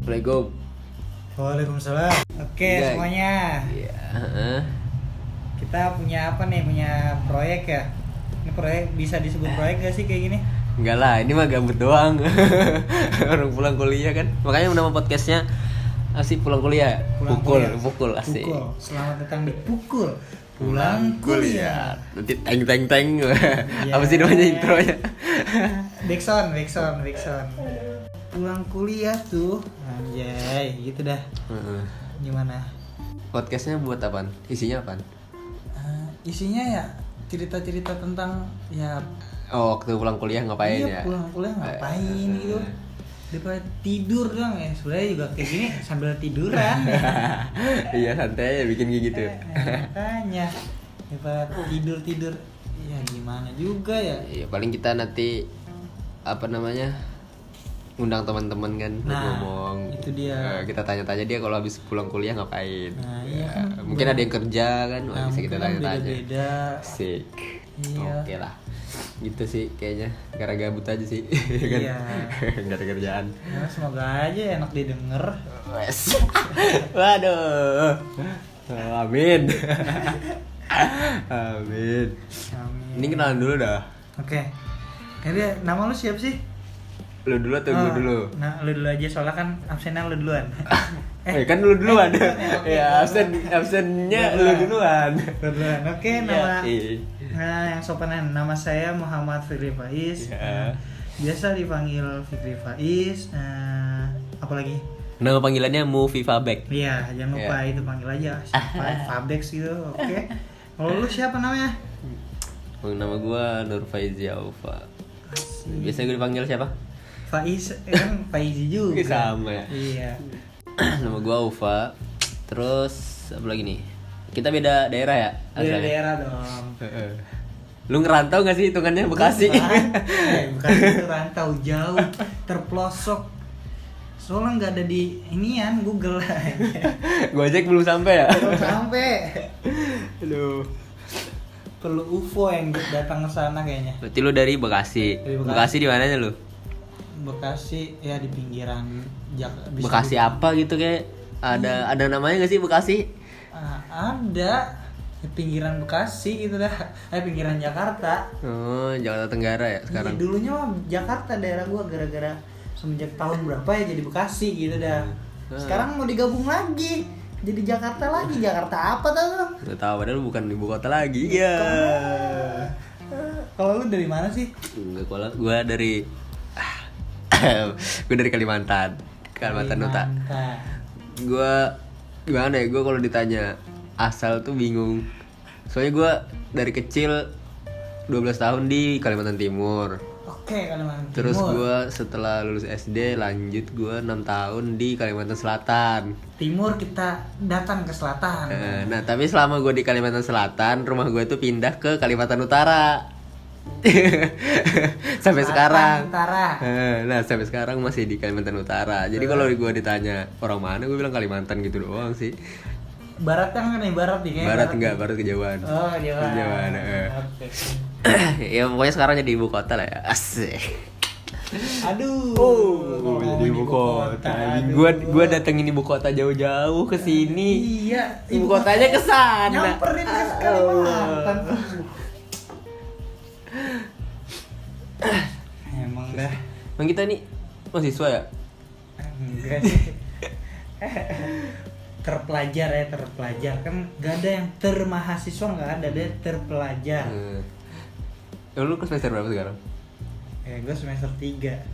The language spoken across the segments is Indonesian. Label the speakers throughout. Speaker 1: Assalamualaikum.
Speaker 2: Waalaikumsalam. Oke
Speaker 1: Guys.
Speaker 2: semuanya,
Speaker 1: Iya. heeh.
Speaker 2: kita punya apa nih? Punya proyek ya? Ini proyek bisa disebut proyek gak sih kayak gini?
Speaker 1: Enggak lah, ini mah gabut doang. Orang pulang kuliah kan. Makanya nama podcastnya asik pulang kuliah.
Speaker 2: Pulang
Speaker 1: pukul,
Speaker 2: kuliah.
Speaker 1: pukul asik.
Speaker 2: Pukul. Selamat datang di pukul. Pulang kuliah.
Speaker 1: Nanti teng teng teng. Apa
Speaker 2: Iya.
Speaker 1: sih namanya intronya?
Speaker 2: Dixon, Dixon, Dixon. Pulang kuliah tuh. Anjay, gitu dah.
Speaker 1: Heeh.
Speaker 2: Gimana?
Speaker 1: Podcastnya buat apaan? Isinya apaan?
Speaker 2: Eh, isinya ya cerita-cerita tentang ya
Speaker 1: Oh, waktu pulang kuliah ngapain
Speaker 2: iya,
Speaker 1: ya?
Speaker 2: pulang kuliah ngapain
Speaker 1: Eh,
Speaker 2: gitu daripada tidur dong ya sebenarnya juga kayak gini sambil tiduran
Speaker 1: iya, santai aja bikin kayak
Speaker 2: Eh,
Speaker 1: gitu.
Speaker 2: tanya daripada tidur tidur ya gimana juga ya
Speaker 1: Ya paling kita nanti apa namanya undang teman-teman kan buat
Speaker 2: Nah,
Speaker 1: ngomong.
Speaker 2: itu dia.
Speaker 1: Eh, kita tanya-tanya dia kalau habis pulang kuliah ngapain.
Speaker 2: Nah,
Speaker 1: Ya,
Speaker 2: iya kan.
Speaker 1: mungkin ada yang kerja kan, wah,
Speaker 2: nah,
Speaker 1: bisa
Speaker 2: mungkin
Speaker 1: kita
Speaker 2: kan
Speaker 1: tanya-tanya.
Speaker 2: beda-beda
Speaker 1: Asik.
Speaker 2: Iya.
Speaker 1: Oke lah. Gitu sih kayaknya gara gabut aja sih. ya kan?
Speaker 2: Iya.
Speaker 1: Nggak ada kerjaan.
Speaker 2: Ya, semoga aja enak didengar
Speaker 1: Wes. Waduh. Amin. Amin.
Speaker 2: Amin.
Speaker 1: Ini kenalan dulu dah.
Speaker 2: oke jadi nama lu siapa sih
Speaker 1: Lu dulu atau gue
Speaker 2: Oh,
Speaker 1: dulu?
Speaker 2: nah lu dulu aja soalnya kan absennya lu duluan
Speaker 1: Eh, kan lu duluan. ya, absen absennya lu duluan.
Speaker 2: Duluan. Lu duluan Iya, oke
Speaker 1: Iya,
Speaker 2: nama
Speaker 1: iya.
Speaker 2: Nah, yang sopanan nama saya Muhammad Fikri Faiz.
Speaker 1: Iya.
Speaker 2: Nah, biasa dipanggil Fikri Faiz. Nah, apalagi?
Speaker 1: Nama panggilannya Mu Viva Back.
Speaker 2: Iya, jangan lupa itu panggil aja siapa Fabex gitu. Oke. Kalau lu siapa namanya?
Speaker 1: Nama gua Nur Faizi Aufa. Biasanya gue dipanggil siapa?
Speaker 2: Faiz eh, kan Faizi juga.
Speaker 1: Iya, sama ya.
Speaker 2: Iya.
Speaker 1: Nama gua Aufa. Terus apa lagi nih? Kita beda daerah ya?
Speaker 2: Dari
Speaker 1: asalnya?
Speaker 2: daerah dong.
Speaker 1: Heeh. Lu ngerantau gak sih hitungannya Bekasi?
Speaker 2: Bukan, eh, bukan itu rantau jauh, terpelosok. Soalnya nggak ada di inian Google.
Speaker 1: Gojek belum sampai ya?
Speaker 2: Belum sampai.
Speaker 1: Aduh.
Speaker 2: perlu UFO yang datang ke sana kayaknya.
Speaker 1: Berarti lu dari Bekasi.
Speaker 2: Dari Bekasi.
Speaker 1: Bekasi di mananya lu?
Speaker 2: Bekasi ya di pinggiran Jak- bisa Hmm.
Speaker 1: Bekasi
Speaker 2: di-
Speaker 1: apa gitu kayak ada ada namanya gak sih Bekasi?
Speaker 2: Ah, ada di pinggiran Bekasi gitu dah. Eh pinggiran Jakarta.
Speaker 1: Oh, Jakarta Tenggara ya sekarang.
Speaker 2: Iya, dulunya mah Jakarta daerah gua gara-gara semenjak tahun berapa ya jadi Bekasi gitu dah.
Speaker 1: Hmm.
Speaker 2: Sekarang mau digabung lagi. Jadi Jakarta lagi.
Speaker 1: Ah.
Speaker 2: Jakarta apa tau? lu?
Speaker 1: Gak tahu padahal bukan ibu kota lagi. Iya.
Speaker 2: Eh, Kalau lu dari mana sih?
Speaker 1: Enggak gua gua dari ah, gua dari Kalimantan. Kalimantan
Speaker 2: Iya.
Speaker 1: Utara.
Speaker 2: Kalimantan.
Speaker 1: Gua gimana ya? Gua kalau ditanya asal tuh bingung. Soalnya gua dari kecil 12 tahun di Kalimantan Timur.
Speaker 2: Oke, Kalimantan
Speaker 1: Terus
Speaker 2: Timur.
Speaker 1: gua setelah lulus SD lanjut gua 6 tahun di Kalimantan Selatan.
Speaker 2: Timur kita datang ke selatan.
Speaker 1: Eh, Nah, tapi selama gue di Kalimantan Selatan, rumah gue tuh pindah ke Kalimantan Utara. sampai
Speaker 2: Selatan,
Speaker 1: sekarang.
Speaker 2: Utara.
Speaker 1: Eh, Nah, sampai sekarang masih di Kalimantan Utara. Jadi kalau
Speaker 2: Eh.
Speaker 1: gue ditanya orang mana, gue bilang Kalimantan gitu doang sih.
Speaker 2: Barat kan nih barat nih kayaknya.
Speaker 1: Barat enggak, barat kejauhan.
Speaker 2: Oh, Iya. Jawa.
Speaker 1: Kejauhan, eh.
Speaker 2: Oke.
Speaker 1: ya pokoknya sekarang jadi ibu kota lah ya. Asik.
Speaker 2: Aduh.
Speaker 1: Oh,
Speaker 2: ngomongin
Speaker 1: jadi ibu kota.
Speaker 2: aduh.
Speaker 1: Gua gua datengin ibu kota jauh-jauh ke sini.
Speaker 2: Iya,
Speaker 1: Ibu kotanya ke sana.
Speaker 2: Nyamperin ke
Speaker 1: Ah,
Speaker 2: Kalimantan. Emang dah.
Speaker 1: Bang kita nih mahasiswa ya?
Speaker 2: Enggak sih. terpelajar ya terpelajar kan gak ada yang termahasiswa nggak ada deh terpelajar
Speaker 1: Hmm. Ya, lu ke semester berapa sekarang?
Speaker 2: Eh, gue semester 3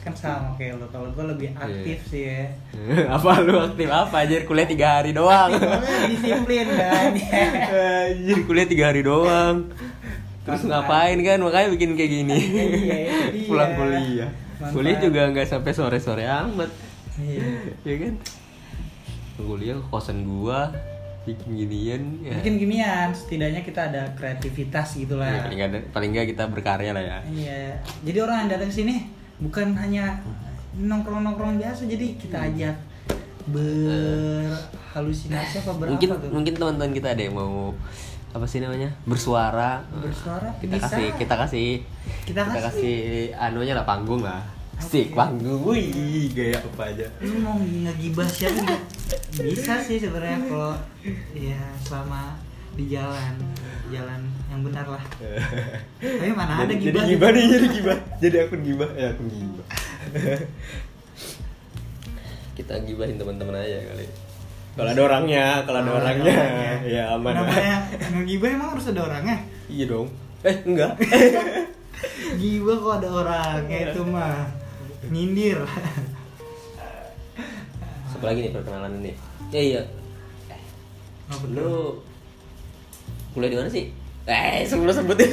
Speaker 2: kan sama kayak lo kalau gue lebih
Speaker 1: Iya.
Speaker 2: aktif sih ya
Speaker 1: apa lu aktif apa anjir kuliah tiga hari doang
Speaker 2: Soalnya disiplin kan
Speaker 1: anjir kuliah tiga hari doang terus
Speaker 2: Kan-
Speaker 1: ngapain kan makanya bikin kayak gini
Speaker 2: Iya, itu dia.
Speaker 1: pulang kuliah
Speaker 2: Mantap.
Speaker 1: kuliah juga nggak sampai sore sore amat
Speaker 2: Iya.
Speaker 1: ya kan kuliah ke kosan gua bikin ginian ya.
Speaker 2: bikin ginian setidaknya kita ada kreativitas gitu
Speaker 1: Ya,
Speaker 2: lah
Speaker 1: paling nggak ada- paling nggak kita berkarya lah ya
Speaker 2: iya jadi orang yang datang sini bukan hanya nongkrong nongkrong biasa jadi kita
Speaker 1: Hmm.
Speaker 2: ajak
Speaker 1: Iya.
Speaker 2: berhalusinasi apa berapa
Speaker 1: mungkin
Speaker 2: tuh
Speaker 1: mungkin teman-teman kita ada yang mau apa sih namanya bersuara
Speaker 2: Bersuara,
Speaker 1: kita
Speaker 2: bisa.
Speaker 1: kasih kita kasih
Speaker 2: Kita kasih.
Speaker 1: anunya lah panggung lah
Speaker 3: Sik panggung, wih gaya apa aja.
Speaker 2: lu mau ngegibah siapa nggak? bisa sih sebenarnya kalau ya selama di jalan jalan yang benar lah tapi mana ada
Speaker 1: jadi,
Speaker 2: gibah
Speaker 1: jadi
Speaker 2: gitu.
Speaker 1: gibah nih jadi gibah jadi akun gibah ya akun gibah kita gibahin teman-teman aja kali kalau ada orangnya kalau
Speaker 2: Nah, Oh,
Speaker 1: ada orangnya
Speaker 2: iya,
Speaker 1: ya aman
Speaker 2: namanya ngegibah emang harus ada orangnya
Speaker 1: iya dong eh enggak
Speaker 2: gibah kok ada orangnya
Speaker 1: Iya.
Speaker 2: itu mah nyindir
Speaker 1: siapa lagi nih perkenalan ini ya iya
Speaker 2: Nggak betul.
Speaker 1: lu kuliah di mana sih eh sebelum sebutin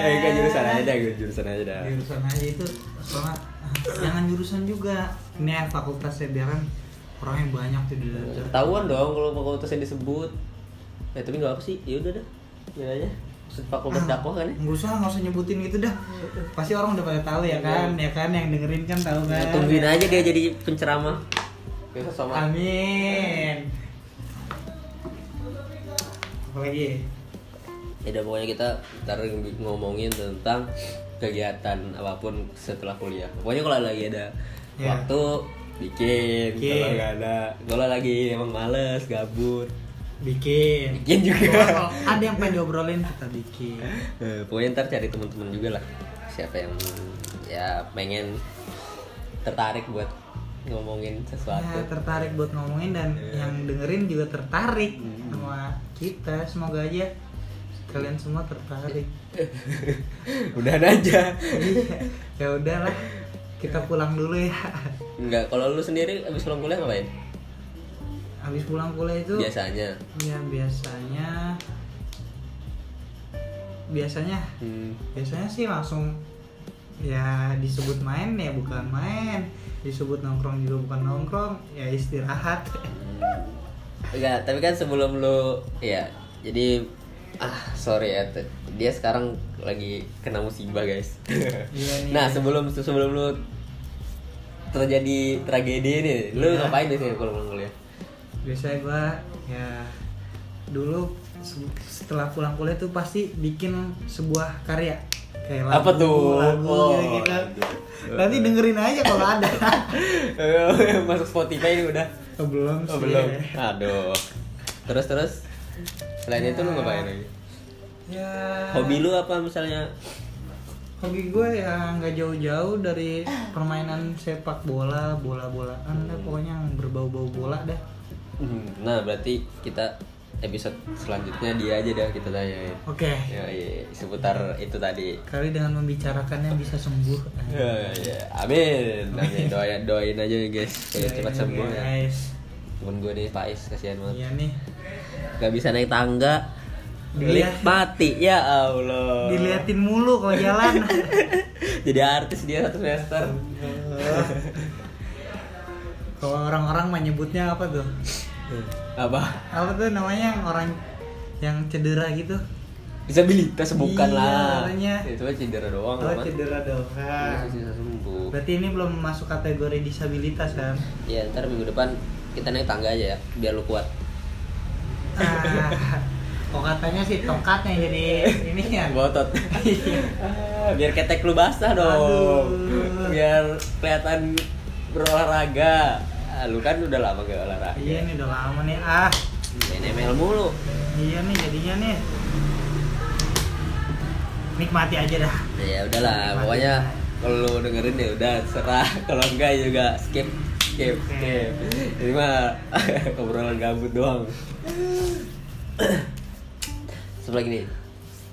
Speaker 1: eh kan jurusan aja dah gue jurusan aja dah
Speaker 2: jurusan aja itu soalnya ah, jangan jurusan juga ini ya, fakultas ya biar kan orangnya banyak tuh di dalam
Speaker 1: ketahuan dong kalau fakultasnya disebut eh tapi nggak apa sih ya udah dah biar aja Maksud fakultas dakwah kan ya
Speaker 2: Ah, Nggak usah, nggak usah nyebutin gitu dah. Pasti orang udah pada tahu ya kan, ya kan yang dengerin kan tahu
Speaker 1: Ya,
Speaker 2: kan.
Speaker 1: tungguin aja dia jadi penceramah. Besok sama.
Speaker 2: Amin. Apalagi
Speaker 1: Ya udah, pokoknya kita ntar ngomongin tentang kegiatan apapun setelah kuliah. Pokoknya kalau lagi ada
Speaker 2: Ya.
Speaker 1: waktu bikin,
Speaker 2: Bikin.
Speaker 1: kalau nggak ada, kalau lagi emang males, gabut,
Speaker 2: bikin. Oh,
Speaker 1: bikin Iya juga.
Speaker 2: Kalau ada yang pengen diobrolin kita bikin. Ya,
Speaker 1: Eh, pokoknya ntar cari teman-teman juga lah. Siapa yang ya pengen tertarik buat ngomongin
Speaker 2: Ya,
Speaker 1: sesuatu.
Speaker 2: tertarik buat ngomongin dan yang dengerin juga tertarik
Speaker 1: Hmm.
Speaker 2: sama kita. Semoga aja kalian semua tertarik.
Speaker 1: Udah aja.
Speaker 2: ya udahlah, kita pulang dulu ya.
Speaker 1: Enggak, kalau lu sendiri abis pulang kuliah ngapain?
Speaker 2: Habis pulang kuliah itu
Speaker 1: Biasanya.
Speaker 2: Ya biasanya biasanya
Speaker 1: Hmm.
Speaker 2: biasanya sih langsung ya disebut main ya bukan main disebut nongkrong juga bukan nongkrong ya istirahat
Speaker 1: Enggak, tapi kan sebelum lu ya jadi ah sorry ya te- dia sekarang lagi kena musibah guys.
Speaker 2: Iya nih.
Speaker 1: nah sebelum sebelum lu terjadi tragedi ini, lu
Speaker 2: Iya.
Speaker 1: ngapain biasanya kalau pulang kuliah?
Speaker 2: biasanya gua ya dulu se- setelah pulang kuliah tuh pasti bikin sebuah karya kayak lagu,
Speaker 1: Apa tuh?
Speaker 2: lagu
Speaker 1: Oh,
Speaker 2: gitu.
Speaker 1: aduh.
Speaker 2: nanti dengerin aja kalau ada
Speaker 1: Masuk Spotify ini udah.
Speaker 2: Oh, belum
Speaker 1: Oh,
Speaker 2: sih.
Speaker 1: belum. Aduh. Terus terus selain itu lu ngapain lagi?
Speaker 2: ya
Speaker 1: Hobi lu apa misalnya?
Speaker 2: hobi gue ya nggak jauh-jauh dari permainan sepak bola bola-bolaan dah pokoknya yang berbau-bau bola dah
Speaker 1: Hmm, Nah, berarti kita episode selanjutnya dia aja dah kita tanyain.
Speaker 2: oke
Speaker 1: Ya, iya, seputar itu tadi.
Speaker 2: kali dengan membicarakannya bisa sembuh
Speaker 1: Ya, ya. Amin. Amin. Doain, doain aja ya guys. Kayak cepat sembuh ya.
Speaker 2: Iya, guys
Speaker 1: Temen gue nih Pak Is kasihan banget.
Speaker 2: iya nih
Speaker 1: Gak bisa naik tangga.
Speaker 2: Iya.
Speaker 1: Lift mati ya Allah.
Speaker 2: diliatin mulu kalau jalan
Speaker 1: Jadi artis dia satu semester.
Speaker 2: kalau orang-orang mah nyebutnya apa tuh Iya.
Speaker 1: Apa?
Speaker 2: apa tuh namanya yang orang yang cedera gitu
Speaker 1: Disabilitas bukan
Speaker 2: Iya,
Speaker 1: lah.
Speaker 2: makanya.
Speaker 1: Itu mah cedera doang
Speaker 2: oh
Speaker 1: lah.
Speaker 2: cedera
Speaker 1: Mas.
Speaker 2: doang
Speaker 1: Bisa sembuh.
Speaker 2: berarti ini belum masuk kategori disabilitas kan
Speaker 1: Ya, ntar minggu depan kita naik tangga aja ya, biar lu kuat.
Speaker 2: Ah, kok katanya sih tongkatnya jadi ini ya
Speaker 1: Botot.
Speaker 2: Iya.
Speaker 1: Ah, biar ketek lu basah dong.
Speaker 2: Aduh.
Speaker 1: Biar kelihatan berolahraga. Ah, lu kan udah lama gak olahraga.
Speaker 2: iya nih udah lama nih ah
Speaker 1: Main ML mulu.
Speaker 2: iya nih jadinya nih nikmati aja dah
Speaker 1: Ya udahlah,
Speaker 2: Iya.
Speaker 1: pokoknya kalau lu dengerin ya udah serah. Kalau enggak ya juga skip skip skip. Ini mah obrolan gabut doang. Satu lagi nih.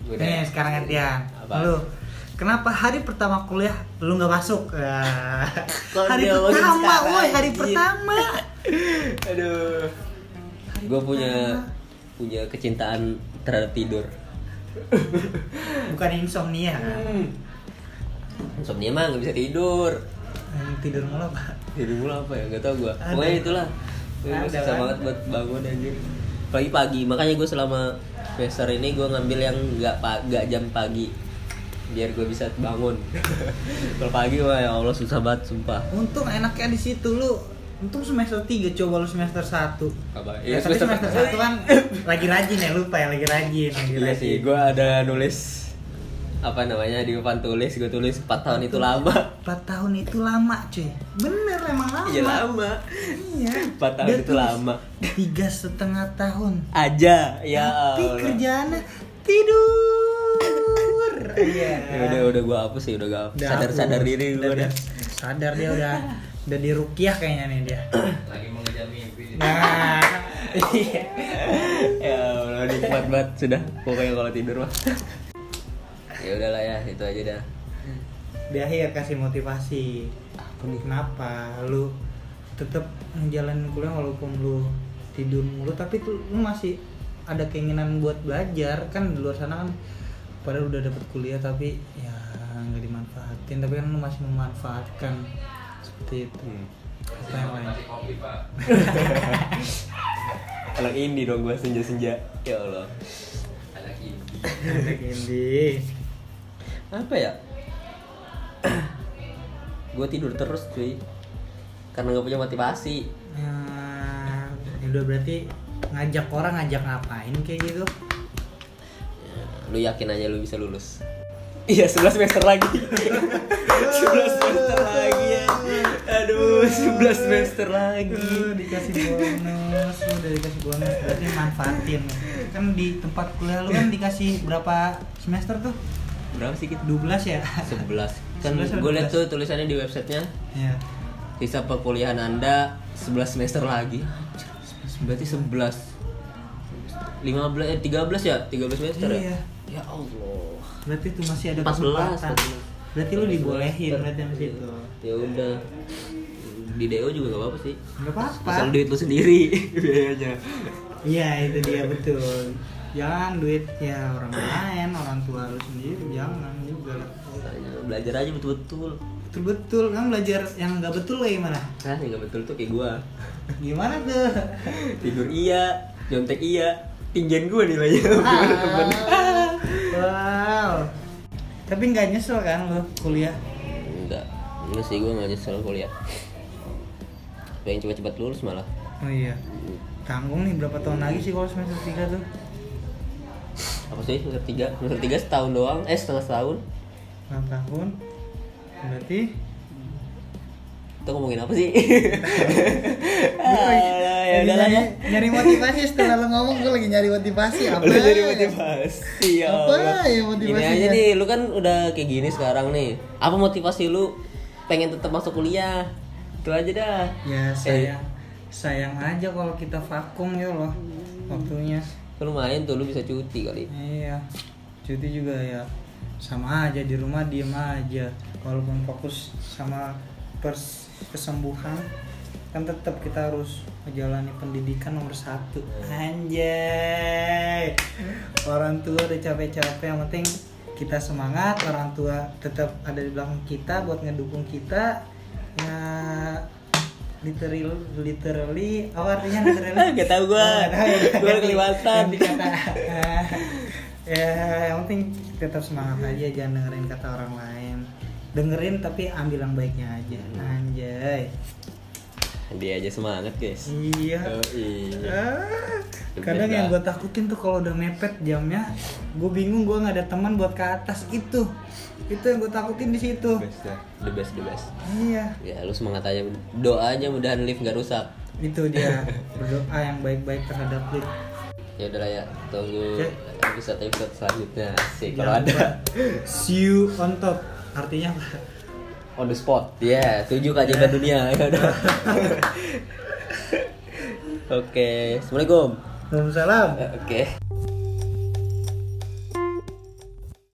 Speaker 1: Gua
Speaker 2: nih
Speaker 1: nanya.
Speaker 2: sekarang gantian
Speaker 1: Apa?
Speaker 2: lu kenapa hari pertama kuliah lu nggak masuk Ah,
Speaker 1: Kok
Speaker 2: hari
Speaker 1: dia masuk
Speaker 2: pertama
Speaker 1: sekarang,
Speaker 2: woi hari
Speaker 1: anjir.
Speaker 2: pertama
Speaker 1: Aduh. Gue punya punya kecintaan terhadap tidur.
Speaker 2: bukan insomnia
Speaker 1: Insomnia mah nggak bisa tidur.
Speaker 2: Hmm, tidur mulu pak
Speaker 1: Tidur mulu apa ya? Gak tau gue.
Speaker 2: Ada.
Speaker 1: Pokoknya itulah. Gue
Speaker 2: Ada
Speaker 1: susah
Speaker 2: kan?
Speaker 1: banget buat bangun anjir. Pagi-pagi. Makanya gue selama semester ini gue ngambil yang nggak pa- nggak jam pagi biar gue bisa bangun. Kalau pagi mah ya Allah susah banget sumpah.
Speaker 2: untung enaknya di situ lu untung semester 3 coba lu semester 1
Speaker 1: Apa?
Speaker 2: Ya, tapi semester satu kan lagi rajin ya lupa ya lagi rajin lagi
Speaker 1: Iya
Speaker 2: rajin.
Speaker 1: sih, gue ada nulis apa namanya di papan tulis gue tulis 4 tahun itu lama
Speaker 2: 4 tahun itu lama cuy bener emang lama
Speaker 1: Iya lama
Speaker 2: iya
Speaker 1: 4 tahun
Speaker 2: Dia
Speaker 1: itu
Speaker 2: tulis
Speaker 1: lama
Speaker 2: tiga setengah tahun
Speaker 1: aja ya
Speaker 2: tapi
Speaker 1: Allah.
Speaker 2: kerjaannya tidur iya
Speaker 1: Ya udah udah gue hapus sih udah gue hapus.
Speaker 2: Udah
Speaker 1: sadar
Speaker 2: aku.
Speaker 1: sadar diri gue
Speaker 2: dia-
Speaker 1: udah
Speaker 2: sadar dia udah udah dirukiah kayaknya nih dia
Speaker 4: lagi mengejar mimpi
Speaker 2: nah
Speaker 1: Iya. ya Allah nikmat banget sudah pokoknya kalau tidur mah ya udahlah ya itu aja dah
Speaker 2: di akhir kasih motivasi
Speaker 1: Apa
Speaker 2: kenapa lu tetap ngejalanin kuliah walaupun lu tidur mulu tapi tuh lu masih ada keinginan buat belajar kan di luar sana kan padahal udah dapet kuliah tapi ya nggak dimanfaatin tapi kan lu masih memanfaatkan seperti itu apa yang lain
Speaker 4: kasih kopi pak
Speaker 1: kalau ini dong gue senja senja ya Allah
Speaker 4: ada kimchi
Speaker 2: ini
Speaker 1: apa ya gue tidur terus cuy karena nggak punya motivasi
Speaker 2: Nah, ya udah berarti ngajak orang ngajak ngapain kayak gitu
Speaker 1: Ya, lu yakin aja lu bisa lulus iya 11 semester lagi 11 semester lagi ya aduh 11 semester lagi
Speaker 2: Aduh, dikasih bonus lu udah dikasih bonus berarti manfaatin kan di tempat kuliah lu kan dikasih berapa semester tuh
Speaker 1: berapa sih kita
Speaker 2: 12 ya
Speaker 1: 11 kan
Speaker 2: 11 atau
Speaker 1: gue liat
Speaker 2: 12?
Speaker 1: tuh tulisannya di websitenya
Speaker 2: ya
Speaker 1: sisa perkuliahan anda 11 semester lagi Anjir, berarti 11 15 eh 13 ya 13 semester
Speaker 2: Iya.
Speaker 1: ya ya Allah
Speaker 2: berarti tuh masih ada
Speaker 1: 14
Speaker 2: kesempatan berarti lu dibolehin berarti sama situ
Speaker 1: ya udah di DO juga gak apa-apa sih
Speaker 2: nggak apa-apa
Speaker 1: asal duit lu sendiri biayanya
Speaker 2: iya itu dia betul jangan duit ya orang lain orang tua lu sendiri jangan juga lah
Speaker 1: Makanya belajar aja betul-betul
Speaker 2: betul betul kan belajar yang nggak betul kayak gimana
Speaker 1: nah yang gak betul tuh kayak gua
Speaker 2: gimana tuh
Speaker 1: tidur iya nyontek iya tinggian gua nilainya gimana temen
Speaker 2: Ah, wow tapi nggak nyesel kan lu kuliah
Speaker 1: enggak enggak sih gua gak nyesel kuliah pengen cepat-cepat lulus malah
Speaker 2: Oh iya. Tanggung nih berapa tahun lagi sih kalau semester 3 tuh?
Speaker 1: apa sih semester tiga semester tiga setahun doang eh setengah setahun
Speaker 2: 6 tahun. Berarti
Speaker 1: kita ngomongin apa sih Alah, ya
Speaker 2: Lagi
Speaker 1: udahlah ya
Speaker 2: nyari, nyari motivasi setelah lo ngomong gue lagi nyari motivasi apa?
Speaker 1: Lu jadi motivasi ya
Speaker 2: Apa
Speaker 1: Allah.
Speaker 2: ya motivasinya?
Speaker 1: Gini aja nih, lu kan udah kayak gini sekarang nih. Apa motivasi lu pengen tetap masuk kuliah? Itu aja dah.
Speaker 2: Ya sayang, sayang aja kalau kita vakum ya loh waktunya.
Speaker 1: Kan lumayan tuh lu bisa cuti kali.
Speaker 2: Iya. Cuti juga ya sama aja di rumah diem aja walaupun fokus sama pers kesembuhan kan tetap kita harus menjalani pendidikan nomor satu anjay orang tua udah capek-capek yang penting kita semangat orang tua tetap ada di belakang kita buat ngedukung kita ya literally literally apa artinya literally
Speaker 1: Gak tau gua.
Speaker 2: Nggak tahu ya.
Speaker 1: Gua kelewatan.
Speaker 2: Ganti kata. Ah, ya yang penting tetap semangat aja jangan dengerin kata orang lain dengerin tapi ambil yang baiknya aja anjay
Speaker 1: Dia aja semangat, guys.
Speaker 2: iya
Speaker 1: Oh, iya.
Speaker 2: Ah,
Speaker 1: Lebih
Speaker 2: kadang
Speaker 1: enak.
Speaker 2: yang gue takutin tuh kalau udah mepet jamnya gue bingung gue nggak ada teman buat ke atas itu itu yang gue takutin di situ
Speaker 1: Best dah. The best, the best.
Speaker 2: iya
Speaker 1: Ya lu semangat aja, doa aja mudahan lift gak rusak.
Speaker 2: itu dia berdoa yang baik-baik terhadap lu
Speaker 1: Ya udahlah ya, tunggu
Speaker 2: Oke.
Speaker 1: episode episode selanjutnya. Sih kalau
Speaker 2: Jangan
Speaker 1: ada
Speaker 2: lupa, see you on top artinya apa
Speaker 1: on the spot. Ya, tujuh keajaiban dunia. Ya udah. Oke, assalamualaikum.
Speaker 2: Waalaikumsalam
Speaker 1: Oke.